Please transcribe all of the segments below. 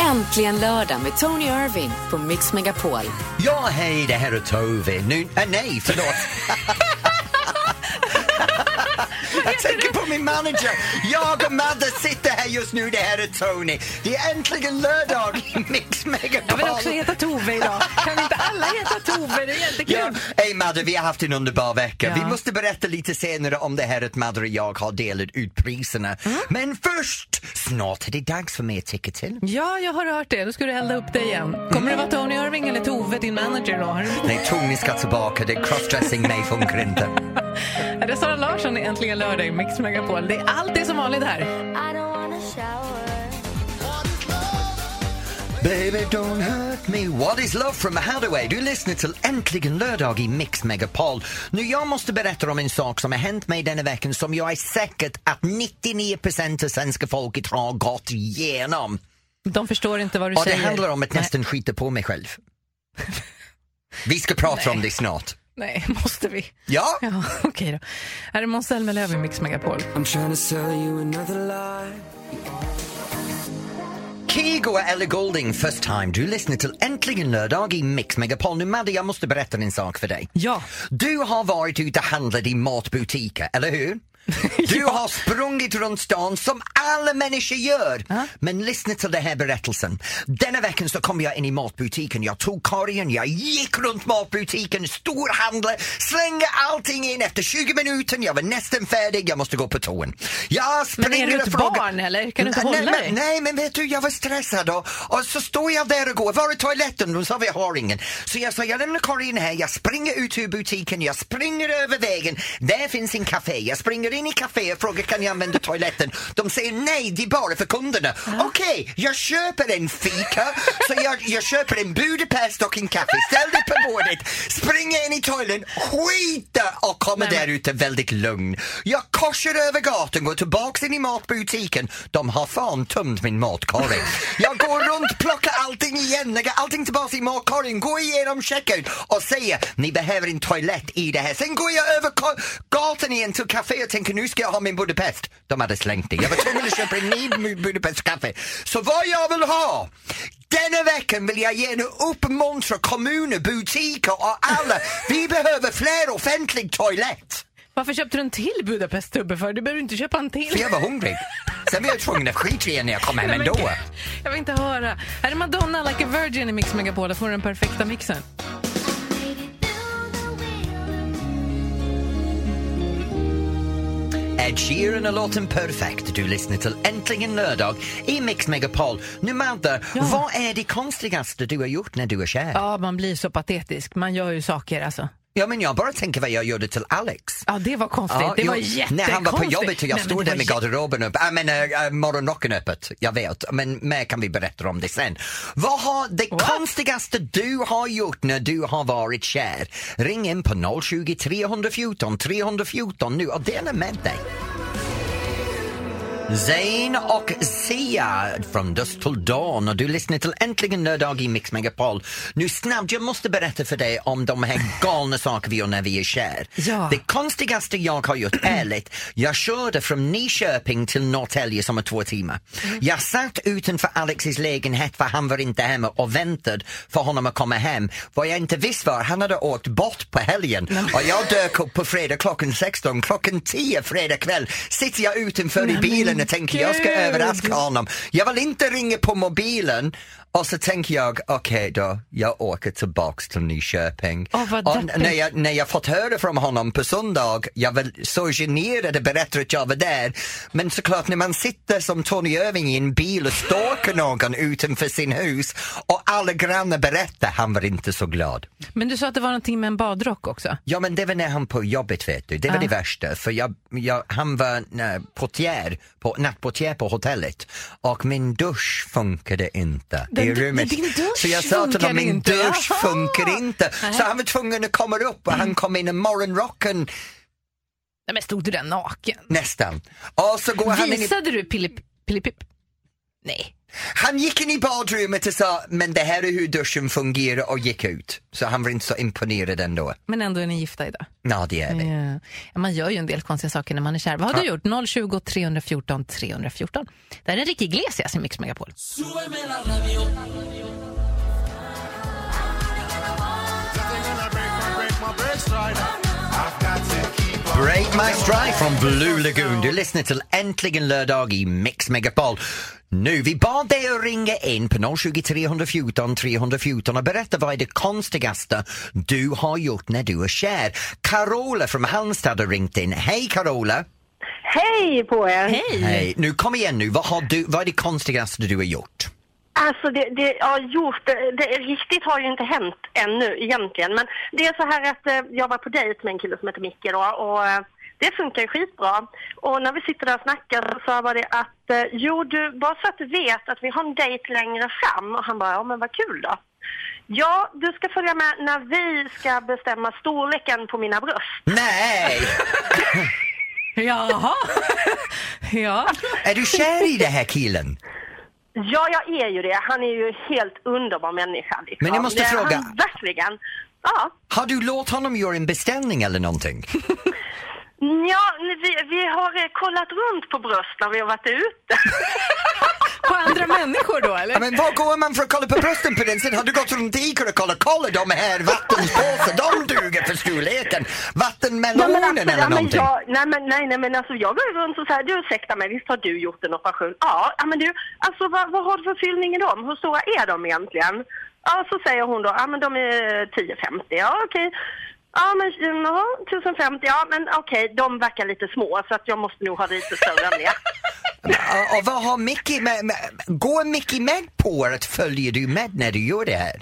Äntligen lördag med Tony Irving på Mix Megapol. Ja, hej, det här är Tove. Nu, äh, nej, förlåt. Jag tänker på min manager. Jag och Madde sitter här just nu. Det här är Tony. Det är äntligen lördag i Mix Megapol. Jag vill också heta Tove idag. Kan inte alla heta Tove? Det är Ja, jättekul. hej Madde, vi har haft en underbar vecka. Ja. Vi måste berätta lite senare om det här att Madde och jag har delat ut priserna. Mm. Men först, snart är det dags för mer tycka till. Ja, jag har hört det. Då ska du elda upp dig igen. Kommer det vara Tony Irving eller Tove, din manager, då? Har du- Nej, Tony ska tillbaka. Det är crossdressing mig funkar inte. Det är Sara Larsson i Äntligen lördag i Mix Megapol. Det är alltid som vanligt här. I don't wanna shower. Baby don't hurt me, what is love from Hathaway? Du lyssnar till Äntligen lördag i Mix Megapol. Nu jag måste berätta om en sak som har hänt mig denna veckan som jag är säker att 99% av svenska folket har gått igenom. De förstår inte vad du Och det säger. handlar om att Nej, nästan skita på mig själv. Vi ska prata om det snart. Nej, måste vi? Ja, Ja, okej då. Här är Måns Zelmerlöw i Mix Megapol. I'm trying to sell you another lie. Kigo eller Golding first time. Du lyssnar till Äntligen lördag i Mix Megapol. Nu Madde, jag måste berätta en sak för dig. Ja, Du har varit ute och handlat i matbutiker, eller hur? Du har sprungit runt stan som alla människor gör. Men lyssna till den här berättelsen. Denna veckan så kom jag in i matbutiken. Jag tog korgen, jag gick runt matbutiken, storhandlade, slängde allting in. Efter 20 minuter, jag var nästan färdig, jag måste gå på toan. Jag Men är springer du och ett frågar- barn, eller? Kan du inte Nej, hålla men- dig? Nej, men vet du, jag var stressad och, och så står jag där och går. Var är toaletten? De sa vi har ingen. Så jag sa, jag lämnar korgen här, jag springer ut ur butiken, jag springer över vägen. Där finns en café. Jag springer in i café och frågar kan jag använda toaletten? De säger nej, det är bara för kunderna. Okej, jag köper en fika, så jag, jag köper en Budapest och en kaffe. Ställ dig på bordet, springer in i toaletten, skiter och kommer Nej, där men- ute väldigt lugn. Jag korsar över gatan, går tillbaks in i matbutiken. De har fan tömt min matkorg. Jag går runt, plockar allting igen, lägger allting tillbaks i matkorgen, går igenom checkout och säger ni behöver en toalett i det här. Sen går jag över ko- gatan igen till kafé och tänker nu ska jag ha min Budapest. De hade slängt det. Jag var tvungen att köpa en ny Bu- Budapestkaffe. Så vad jag vill ha denna veckan vill jag gärna uppmuntra kommuner, butiker och alla. Vi behöver fler offentlig toalett. varför köpte du en till Budapest-tubbe för? Du behöver inte köpa en till. För jag var hungrig. Sen var jag tvungen att skita igen när jag kom hem Nej, men ändå. gud, Jag vill inte höra. Här är Madonna, Like a Virgin i Mix Megapol. Där får du den perfekta mixen. Made it through the wheel. Ed Sheeran och låten Perfect. Du lyssnar till Äntligen lördag i Mix Megapol. Nu Madde, vad är det konstigaste du har gjort när du är kär? Ja. Ja, man blir så patetisk. Man gör ju saker alltså. men jag bara tänker vad jag gjorde till Alex. Ja, det var konstigt. Ja, det jo, var jättekonstigt. När han var på jobbet och jag Nej, men stod det där var med garderoben upp, jag menar äh, morgonrocken öppet, jag vet, men mer kan vi berätta om det sen. Vad har det konstigaste du har gjort när du har varit kär? Ring in på 020 314 314 nu och dela med dig. Zayn och Sia från Dust till Dawn och du lyssnar till Äntligen lördag i Mix Megapol. Nu snabbt, jag måste berätta för dig om de här galna saker vi gör när vi är kär. Ja. Det konstigaste jag har gjort, ärligt, jag körde från Nyköping till Norrtälje som är två timmar. Jag satt utanför Alexis lägenhet för han var inte hemma och väntade för honom att komma hem. Vad jag inte visste var han hade åkt bort på helgen och jag dök upp på fredag klockan 16, klockan 10 fredag kväll sitter jag utanför i bilen och tänker jag ska gud. överraska Mm. honom. Jag vill inte ringa på mobilen och så tänker jag, okej då, jag åker tillbaks till Nyköping. Åh, vad Och deppigt. när, jag, när jag fått höra från honom på söndag, jag var så generad att berätta att jag var där. Men såklart när man sitter som Tony Irving i en bil och stalkar någon utanför sin hus och alla grannar berättar, han var inte så glad. Men du sa att det var någonting med en badrock också. Ja men det var när han på jobbet vet du, det var det värsta för jag, jag, han var nej, portier, på, nattportier på hotellet och min dusch funkade inte Den i du- rummet. din dusch så jag sa till funkar honom, min inte, dusch jaha." Mm. funkar inte. Så han var tvungen att komma upp och han kom in i morgonrocken Nej, men stod du där naken? nästan. Och så går han in i Visade du Pillip? Pillip? Nej. Han gick in i badrummet och sa men det här är hur duschen fungerar och gick ut. Så han var inte så imponerad ändå. Men ändå är ni gifta idag. Ja, det är vi. Ja. Man gör ju en del konstiga saker när man är kär. Vad har du gjort? 020 314 314. Det här är Ricky Iglesias i Mix Megapol. Break My Stride från Blue Lagoon. Du lyssnar till Äntligen lördag i Mix Megapol. Nu, vi bad dig att ringa in på 020 314 314 och berätta vad är det konstigaste du har gjort när du är kär. Carola från Halmstad har ringt in. Hej Carola! Hej på er! Hej! Hej! Nu, kom igen nu, vad, har du, vad är det konstigaste du har gjort? Alltså, det, det, ja, gjort, det, det riktigt har ju inte hänt ännu egentligen. Men det är så här att eh, jag var på dejt med en kille som heter Micke då och eh, det funkar ju skitbra. Och när vi sitter där och snackar så sa jag det att eh, jo du, bara så att du vet att vi har en dejt längre fram. Och han bara, ja men vad kul då. Ja, du ska följa med när vi ska bestämma storleken på mina bröst. Nej! Jaha! ja. Är du kär i den här killen? Ja, jag är ju det. Han är ju helt underbar människa. Liksom. Men jag måste det, fråga- Han, verkligen. Ja. Har du låtit honom göra en beställning eller någonting? Ja, vi, vi har eh, kollat runt på bröst när vi har varit ute. På andra människor då eller? Ja, Men var går man för att kolla på brösten på den? Sen har du gått runt Iker och kollat, kolla de här vattenpåsar, de duger för storleken. Vattenmelonen alltså, eller ja, men någonting. jag, nej, men, nej, nej, men alltså jag går ju runt och säger, du ursäkta mig, visst har du gjort en operation? Ja, ja men du, alltså vad, vad har du för fyllning i dem? Hur stora är de egentligen? Ja, så säger hon då, ja men de är eh, 10-50, ja okej. Ja men jaha, 1050, ja men okej, de verkar lite små så att jag måste nog ha lite större än det. Och, och vad har Mickey med, med, går Mickey med på att följer du med när du gör det här?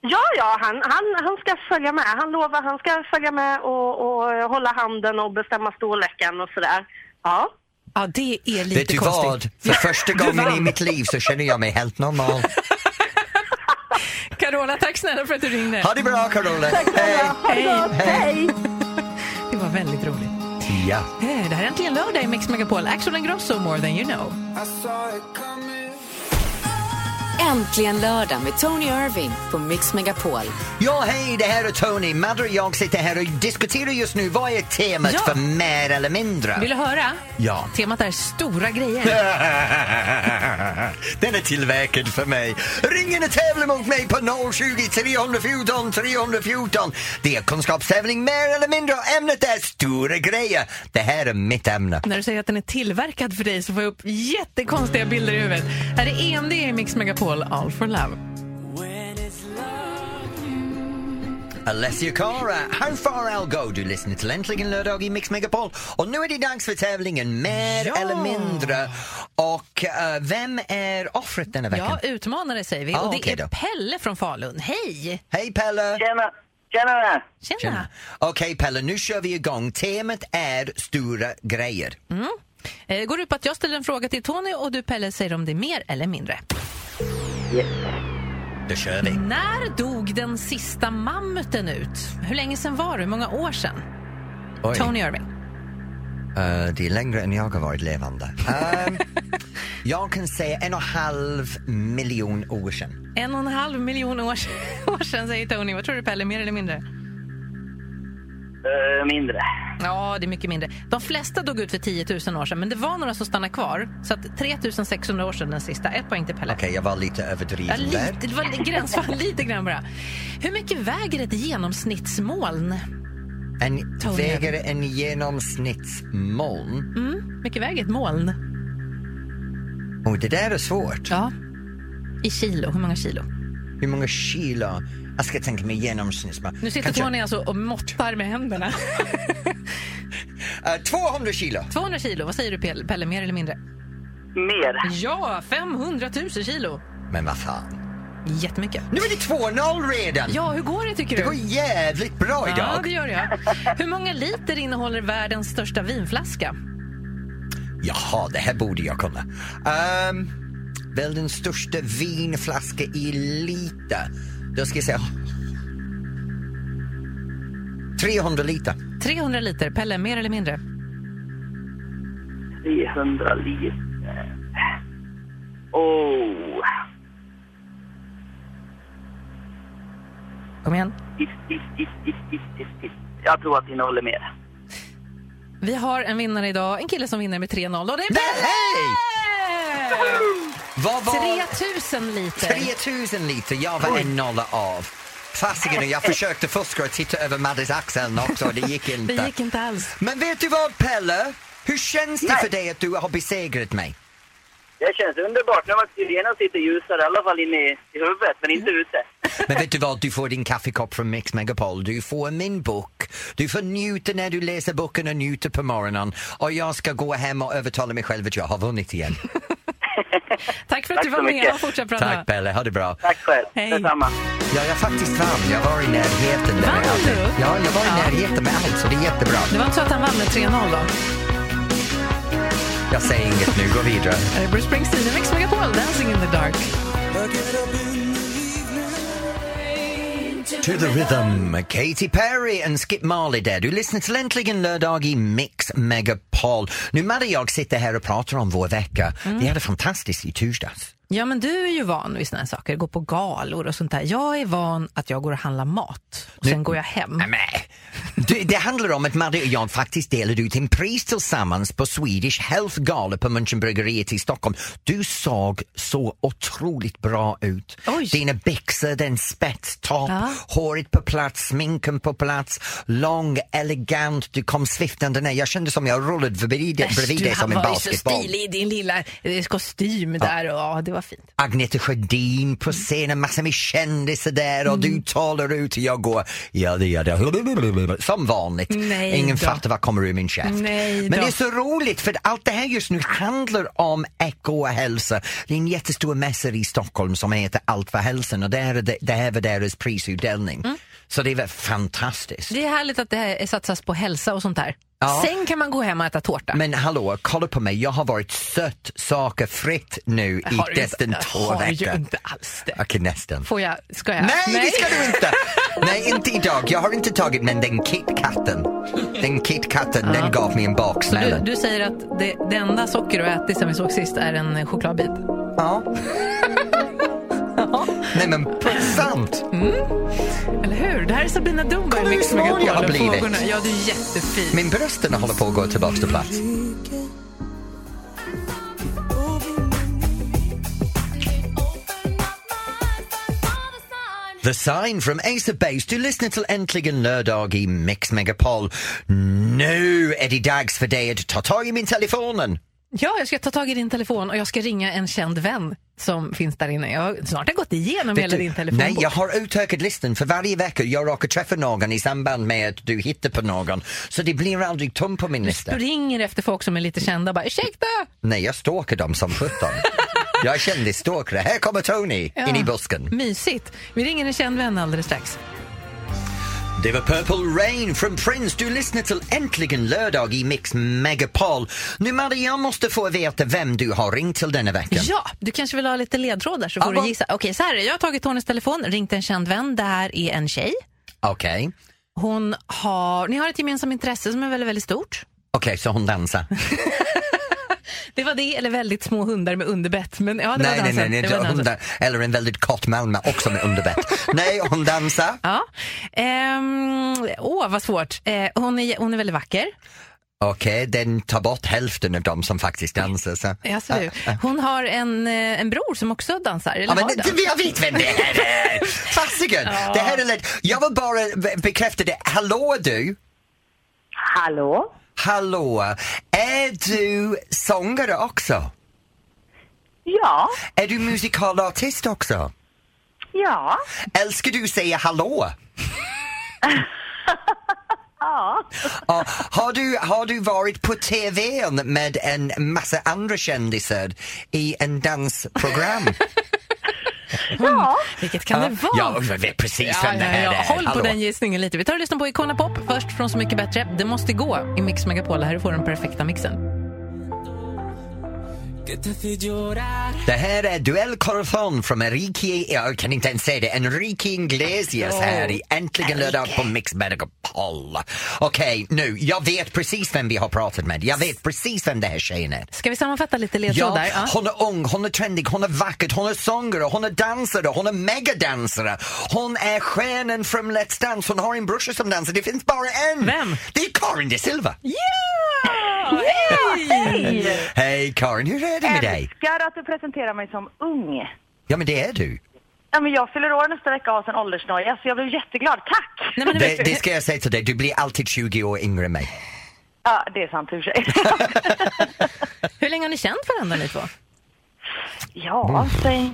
Ja, ja, han, han, han ska följa med. Han lovar han ska följa med och, och eh, hålla handen och bestämma storleken och sådär. Ja. Ja, det är lite Vet du konstigt. vad? För första gången i mitt liv så känner jag mig helt normal. Carola, tack snälla för att du ringde. Ha det bra Carola! Hej. Hej! Det var väldigt roligt. Ja. Eh, Det här är äntligen lördag i Mix Megapol. Axel Ingrosso, More than you know. I saw it coming. Äntligen lördag med Tony Irving på Mix Megapol. Ja, hej, det här är Tony. Madde och jag sitter här och diskuterar just nu vad är temat Ja. för mer eller mindre? Vill du höra? Ja. Temat är stora grejer. Den är tillverkad för mig. Ring in och tävla mot mig på 020 314 314. Det är kunskapstävling mer eller mindre och ämnet är stora grejer. Det här är mitt ämne. När du säger att den är tillverkad för dig så får jag upp jättekonstiga bilder i huvudet. Här är EMD i Mix Megapol, All for Love. Alessia Cara, How far I'll go. Du lyssnar till Äntligen lördag i Mix Megapol. Och nu är det dags för tävlingen mer Ja. eller mindre. Och eh, vem är offret denna veckan? Ja, utmanare säger vi. Ah, och det okej är då. Pelle från Falun. Hej! Hej Pelle! Tjena! Tjena! Tjena! Tjena. Okej Pelle, nu kör vi igång. Temat är stora grejer. Eh, Det går ut på att jag ställer en fråga till Tony och du Pelle säger om det är mer eller mindre. Då kör vi. När dog den sista mammuten ut? Hur länge sedan var det? Hur många år sedan? Oj. Tony Irving. Eh, det är längre än jag har varit levande. Ehm, jag kan säga en och en halv miljon år sedan. En och en halv miljon år, sedan- år sedan säger Tony. Vad tror du Pelle, mer eller mindre? Eh, mindre. Ja, det är mycket mindre. De flesta dog ut för 10 000 år sedan, men det var några som stannade kvar. Så att 3 600 år sedan den sista. Ett poäng till Pelle. Okej, jag var lite Ja, överdriven lite, där. det var li- gränsfall, lite grann bara. Hur mycket väger ett genomsnittsmoln? En Tony. väger en genomsnittsmoln? Mm, mycket väger ett moln? Och det där är svårt. Ja. I kilo, hur många kilo? Hur många kilo? Jag ska tänka mig genomsnittsmoln. Nu sitter Kanske- Tony alltså och måttar med händerna. Eh, 200 kilo! 200 kilo, vad säger du Pel- Pelle, mer eller mindre? Mer. Ja, 500 000 kilo! Men vad fan. Jättemycket. Nu är det 2-0 redan! Ja, hur går det tycker Det du? går jävligt bra Ja, idag. det gör jag. Hur många liter innehåller världens största vinflaska? Jaha, det här borde jag kunna. Um, väl den största vinflaska i liter. Då ska jag säga... 300 liter. 300 liter, Pelle, mer eller mindre? 300 liter. Åh, Kom igen. Is, is, is, is, is, is, is. Jag tror att det innehåller mer. Vi har en vinnare idag, en kille som vinner med 3-0 och det är Pelle! Nej! Vad var 3000 liter. 3000 liter? Jag var en nolla av. Fasiken, jag försökte fuska och titta över Maddys axeln också, det gick inte. Det gick inte alls. Men vet du vad Pelle? Hur känns det Nej. för dig att du har besegrat mig? Det känns underbart. Nu har varit sirenen sitter ljusare, i alla fall inne i, i huvudet, men inte ute. Men vet du vad, du får din kaffekopp från Mix Megapol, du får min bok, du får njuta när du läser boken och njuta på morgonen och jag ska gå hem och övertala mig själv att jag har vunnit igen. Tack för att Tack du så var med mycket. och fortsätt prata. Tack Pelle, ha det bra. Tack själv. Hej. Detsamma. Ja, jag faktiskt vann, jag var i närheten. där. Vann du? Ja, jag var i Ja. närheten med allt så det är jättebra. Det var inte så att han vann med 3-0 då? Jag säger inget nu, gå vidare. Är det Bruce Springsteen i Mix Megapol, Dancing in the dark. To the rhythm, Katy Perry and Skip Marley där. Du lyssnar till Äntligen lördag i Mix Megapol. Nu Madde och jag sitter här och pratar om vår vecka. Mm. Vi hade fantastiskt i torsdags. Ja, men du är ju van vid såna här saker, gå på galor och sånt där. Jag är van att jag går och handlar mat och sen går jag hem. Nej, men, du, det handlar om att Madde och jag faktiskt delade ut en pris tillsammans på Swedish Health Gala på Münchenbryggeriet i Stockholm. Du såg så otroligt bra ut. Oj. Dina byxor, den spetstopp, Ja. håret på plats, sminken på plats, lång, elegant, du kom sviftande ner. Jag kände som jag rullade förbi dig, bredvid dig som en var ju så basketboll. stilig i din lilla eh, kostym där och ja, det var fint. Agneta Sjödin Mm. på scenen, massor med kändisar där och du talar ut och jag går ja det gör det. Som vanligt. Nej Ingen då. fattar vad kommer ur min käft. Nej Men då. det är så roligt för allt det här just nu handlar om ekohälsa. Det är en jättestor mässa i Stockholm som heter Allt för hälsan och där är det, det här var deras prisutdelning. Så det var fantastiskt. Mm. Det är härligt att det här är satsas på hälsa och sånt där. Ja. Sen kan man gå hem och äta tårta. Men hallå, kolla på mig. Jag har varit sött sackerfritt nu Jag i har ju nästan inte- två jag har ju veckor. inte alls det. Okej, nästan. Får jag, ska jag? Nej, det ska du inte! Nej, inte idag. Jag har inte tagit men den KitKatten. Den KitKatten, den gav mig en Så du, baksmälla. du säger att det, det enda socker du ätit sen vi såg sist är en eh, chokladbit? Ja. Nej men på sant! Eller hur? Det här är Sabina Dumba Kolla hur smal Megapol jag har och blivit. Frågorna. Ja, du är jättefin. Min brösten håller på att gå tillbaka till plats. The Sign from Ace of Base. Du lyssnar till Äntligen lördag i Mix Megapol. Nu är det dags för dig att ta tag i min telefonen. Ja, jag ska ta tag i din telefon och jag ska ringa en känd vän som finns där inne. Jag har snart har gått igenom Vet hela du- din telefonbok. Nej, jag har utökat listan för varje vecka jag råkar träffa någon i samband med att du hittar på någon. Så det blir aldrig tom på min lista. Du ringer efter folk som är lite kända och bara ursäkta! Nej, jag stalkar dem som sjutton. jag är kändisstalkare. Här kommer Tony in i busken. Mysigt. Vi ringer en känd vän alldeles strax. Det var Purple Rain från Prince. Du lyssnar till Äntligen lördag i Mix Megapol. Nu Maria, jag måste få veta vem du har ringt till denna vecka. Ja, du kanske vill ha lite ledtrådar så får Ja, du va- gissa. Okej, så här är det. Jag har tagit Tonys telefon, ringt en känd vän. Det här är en tjej. Okej. Hon har, ni har ett gemensamt intresse som är väldigt, väldigt stort. Okej, så hon dansar. Det var det eller väldigt små hundar med underbett. Men ja, det nej, var nej, dansen. nej, nej, det var dansen. hon dan- Eller en väldigt kort Malmö också med underbett. nej, hon dansar. Ja. Ehm, åh, vad svårt. Eh, hon, är, hon är väldigt vacker. Okej, den tar bort hälften av dem som faktiskt dansar. Så. Ja, så du. Hon har en, eh, en bror som också dansar. Eller Ja, men har det, dans. jag vet vem det här är! Fasiken! Det här är lätt. Jag vill bara be- bekräfta det. Hallå du! Hallå? Hallå! Är du sångare också? Ja, Är du musikalartist också? ja, Älskar du säga hallå? ja. Ja, har, du, har du varit på tvn med en massa andra kändisar i en dansprogram? ja. Vilket kan det vara? Ja, jag vet precis vem det här Eh, ja, ja. är. Håll på Hallå. den gissningen lite. Vi tar och lyssnar på Icona Pop först från Så mycket bättre. Det måste gå i Mix Megapol. Här får du den perfekta mixen. Det här är Duell Corazon från Enrique, jag kan inte ens säga det, Enrique Iglesias här i Äntligen lördag på Mix Megapol. Okej, nu, jag vet precis vem vi har pratat med. Jag vet precis vem det här tjejen är. Ska vi sammanfatta lite Ja, ledtrådar? Ja. hon är ung, hon är trendig, hon är vacker, hon är sångare, hon är dansare, hon är megadansare. Hon är stjärnan från Let's Dance, hon har en brorsa som dansar, det finns bara en! Vem? Det är Karin de Silva! Hej! Hej Karin, hur är det med dig? Älskar att du presenterar mig som ung. Ja men det är du. Ja, men jag fyller år nästa vecka och har sån åldersnoja så jag blev jätteglad. Tack! Nej, men, Det, det ska jag säga till dig, du blir alltid 20 år yngre än mig. Ja, det är sant i och för sig. Hur länge har ni känt varandra ni två? Mm. ja, säg.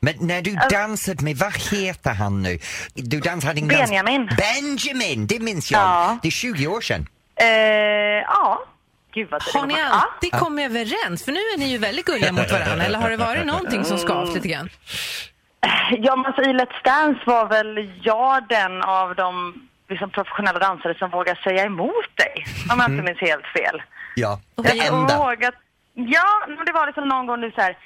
Men när du dansade med, vad heter han nu? Du dansade en dans- Benjamin. Benjamin, det minns jag. Ja. Det är 20 år sedan. Eh, ja. Gud vad Har ni det går fort. alltid kommit överens? För nu är ni ju väldigt gulliga mot varandra. Eller har det varit någonting som skavt lite grann? Ja, ja men alltså, i Let's Dance var väl jag den av de liksom, professionella dansare som vågar säga emot dig. Mm. Om jag inte minns helt fel. Ja, Och det vi- enda. Vågat... Ja, men det var liksom någon gång du så här.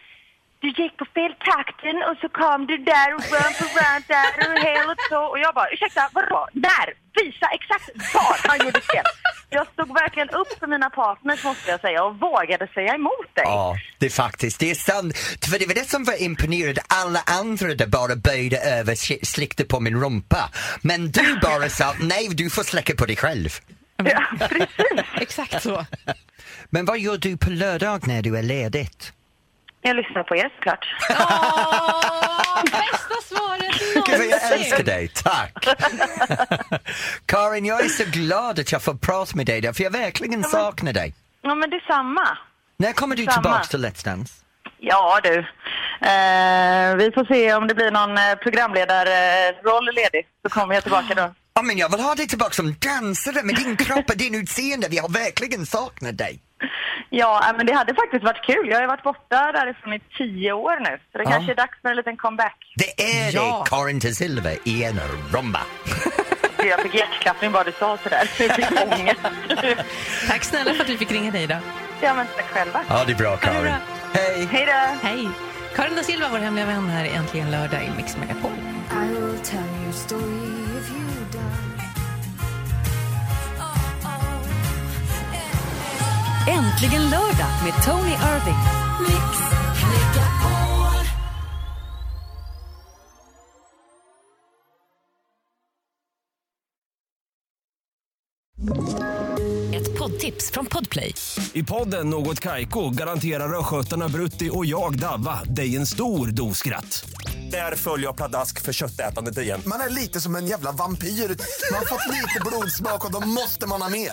Du gick på fel takten och så kom du där och runt och runt där och hel och så. Och jag bara, ursäkta, vadå? Där! Visa exakt var han gjorde fel. Jag stod verkligen upp för mina partners måste jag säga och vågade säga emot dig. Ja, det är faktiskt, det är sant. För det var det som var imponerande, alla andra där bara böjde över, sk- slickte på min rumpa. Men du bara sa, nej du får släcka på dig själv. Ja, precis. Exakt så. Men vad gör du på lördag när du är ledigt? Jag lyssnar på er såklart. Åh, bästa svaret Gud, vad jag någonsin! älskar dig, tack! Karin, jag är så glad att jag får prata med dig där, för jag verkligen saknar dig. Ja, men detsamma. När kommer du Samma. tillbaks till Let's Dance? Ja du. Eh, vi får se om det blir någon eh, programledarroll ledig. Så kommer jag tillbaka då. Ja, men jag vill ha dig tillbaks som dansare med din kropp och din utseende. Vi har verkligen saknat dig. Ja, eh, men det hade faktiskt varit kul. Jag har ju varit borta därifrån i tio år nu. Så det Ja. kanske är dags för en liten comeback. Det är Ja. det, Karin till Silva i en rumba. Gud, Jag fick hjärtklappning bara du sa sådär. Jag fick ångest. Tack snälla för att vi fick ringa dig idag. ja, men tack själva. Ja, det är bra, det är Karin. bra. Hej! Hej då! Hej! Karin da Silva, vår hemliga vän, här i Äntligen lördag i Mix Megapol. I will tell your story if you don't. Äntligen lördag med Tony Irving. Ett poddtips från Podplay. I podden Något Kaiko garanterar östgötarna Brutti och jag, Davva, dig en stor dos skratt. Där följer jag pladask för köttätandet igen. Man är lite som en jävla vampyr. Man har fått lite blodsmak och då måste man ha mer.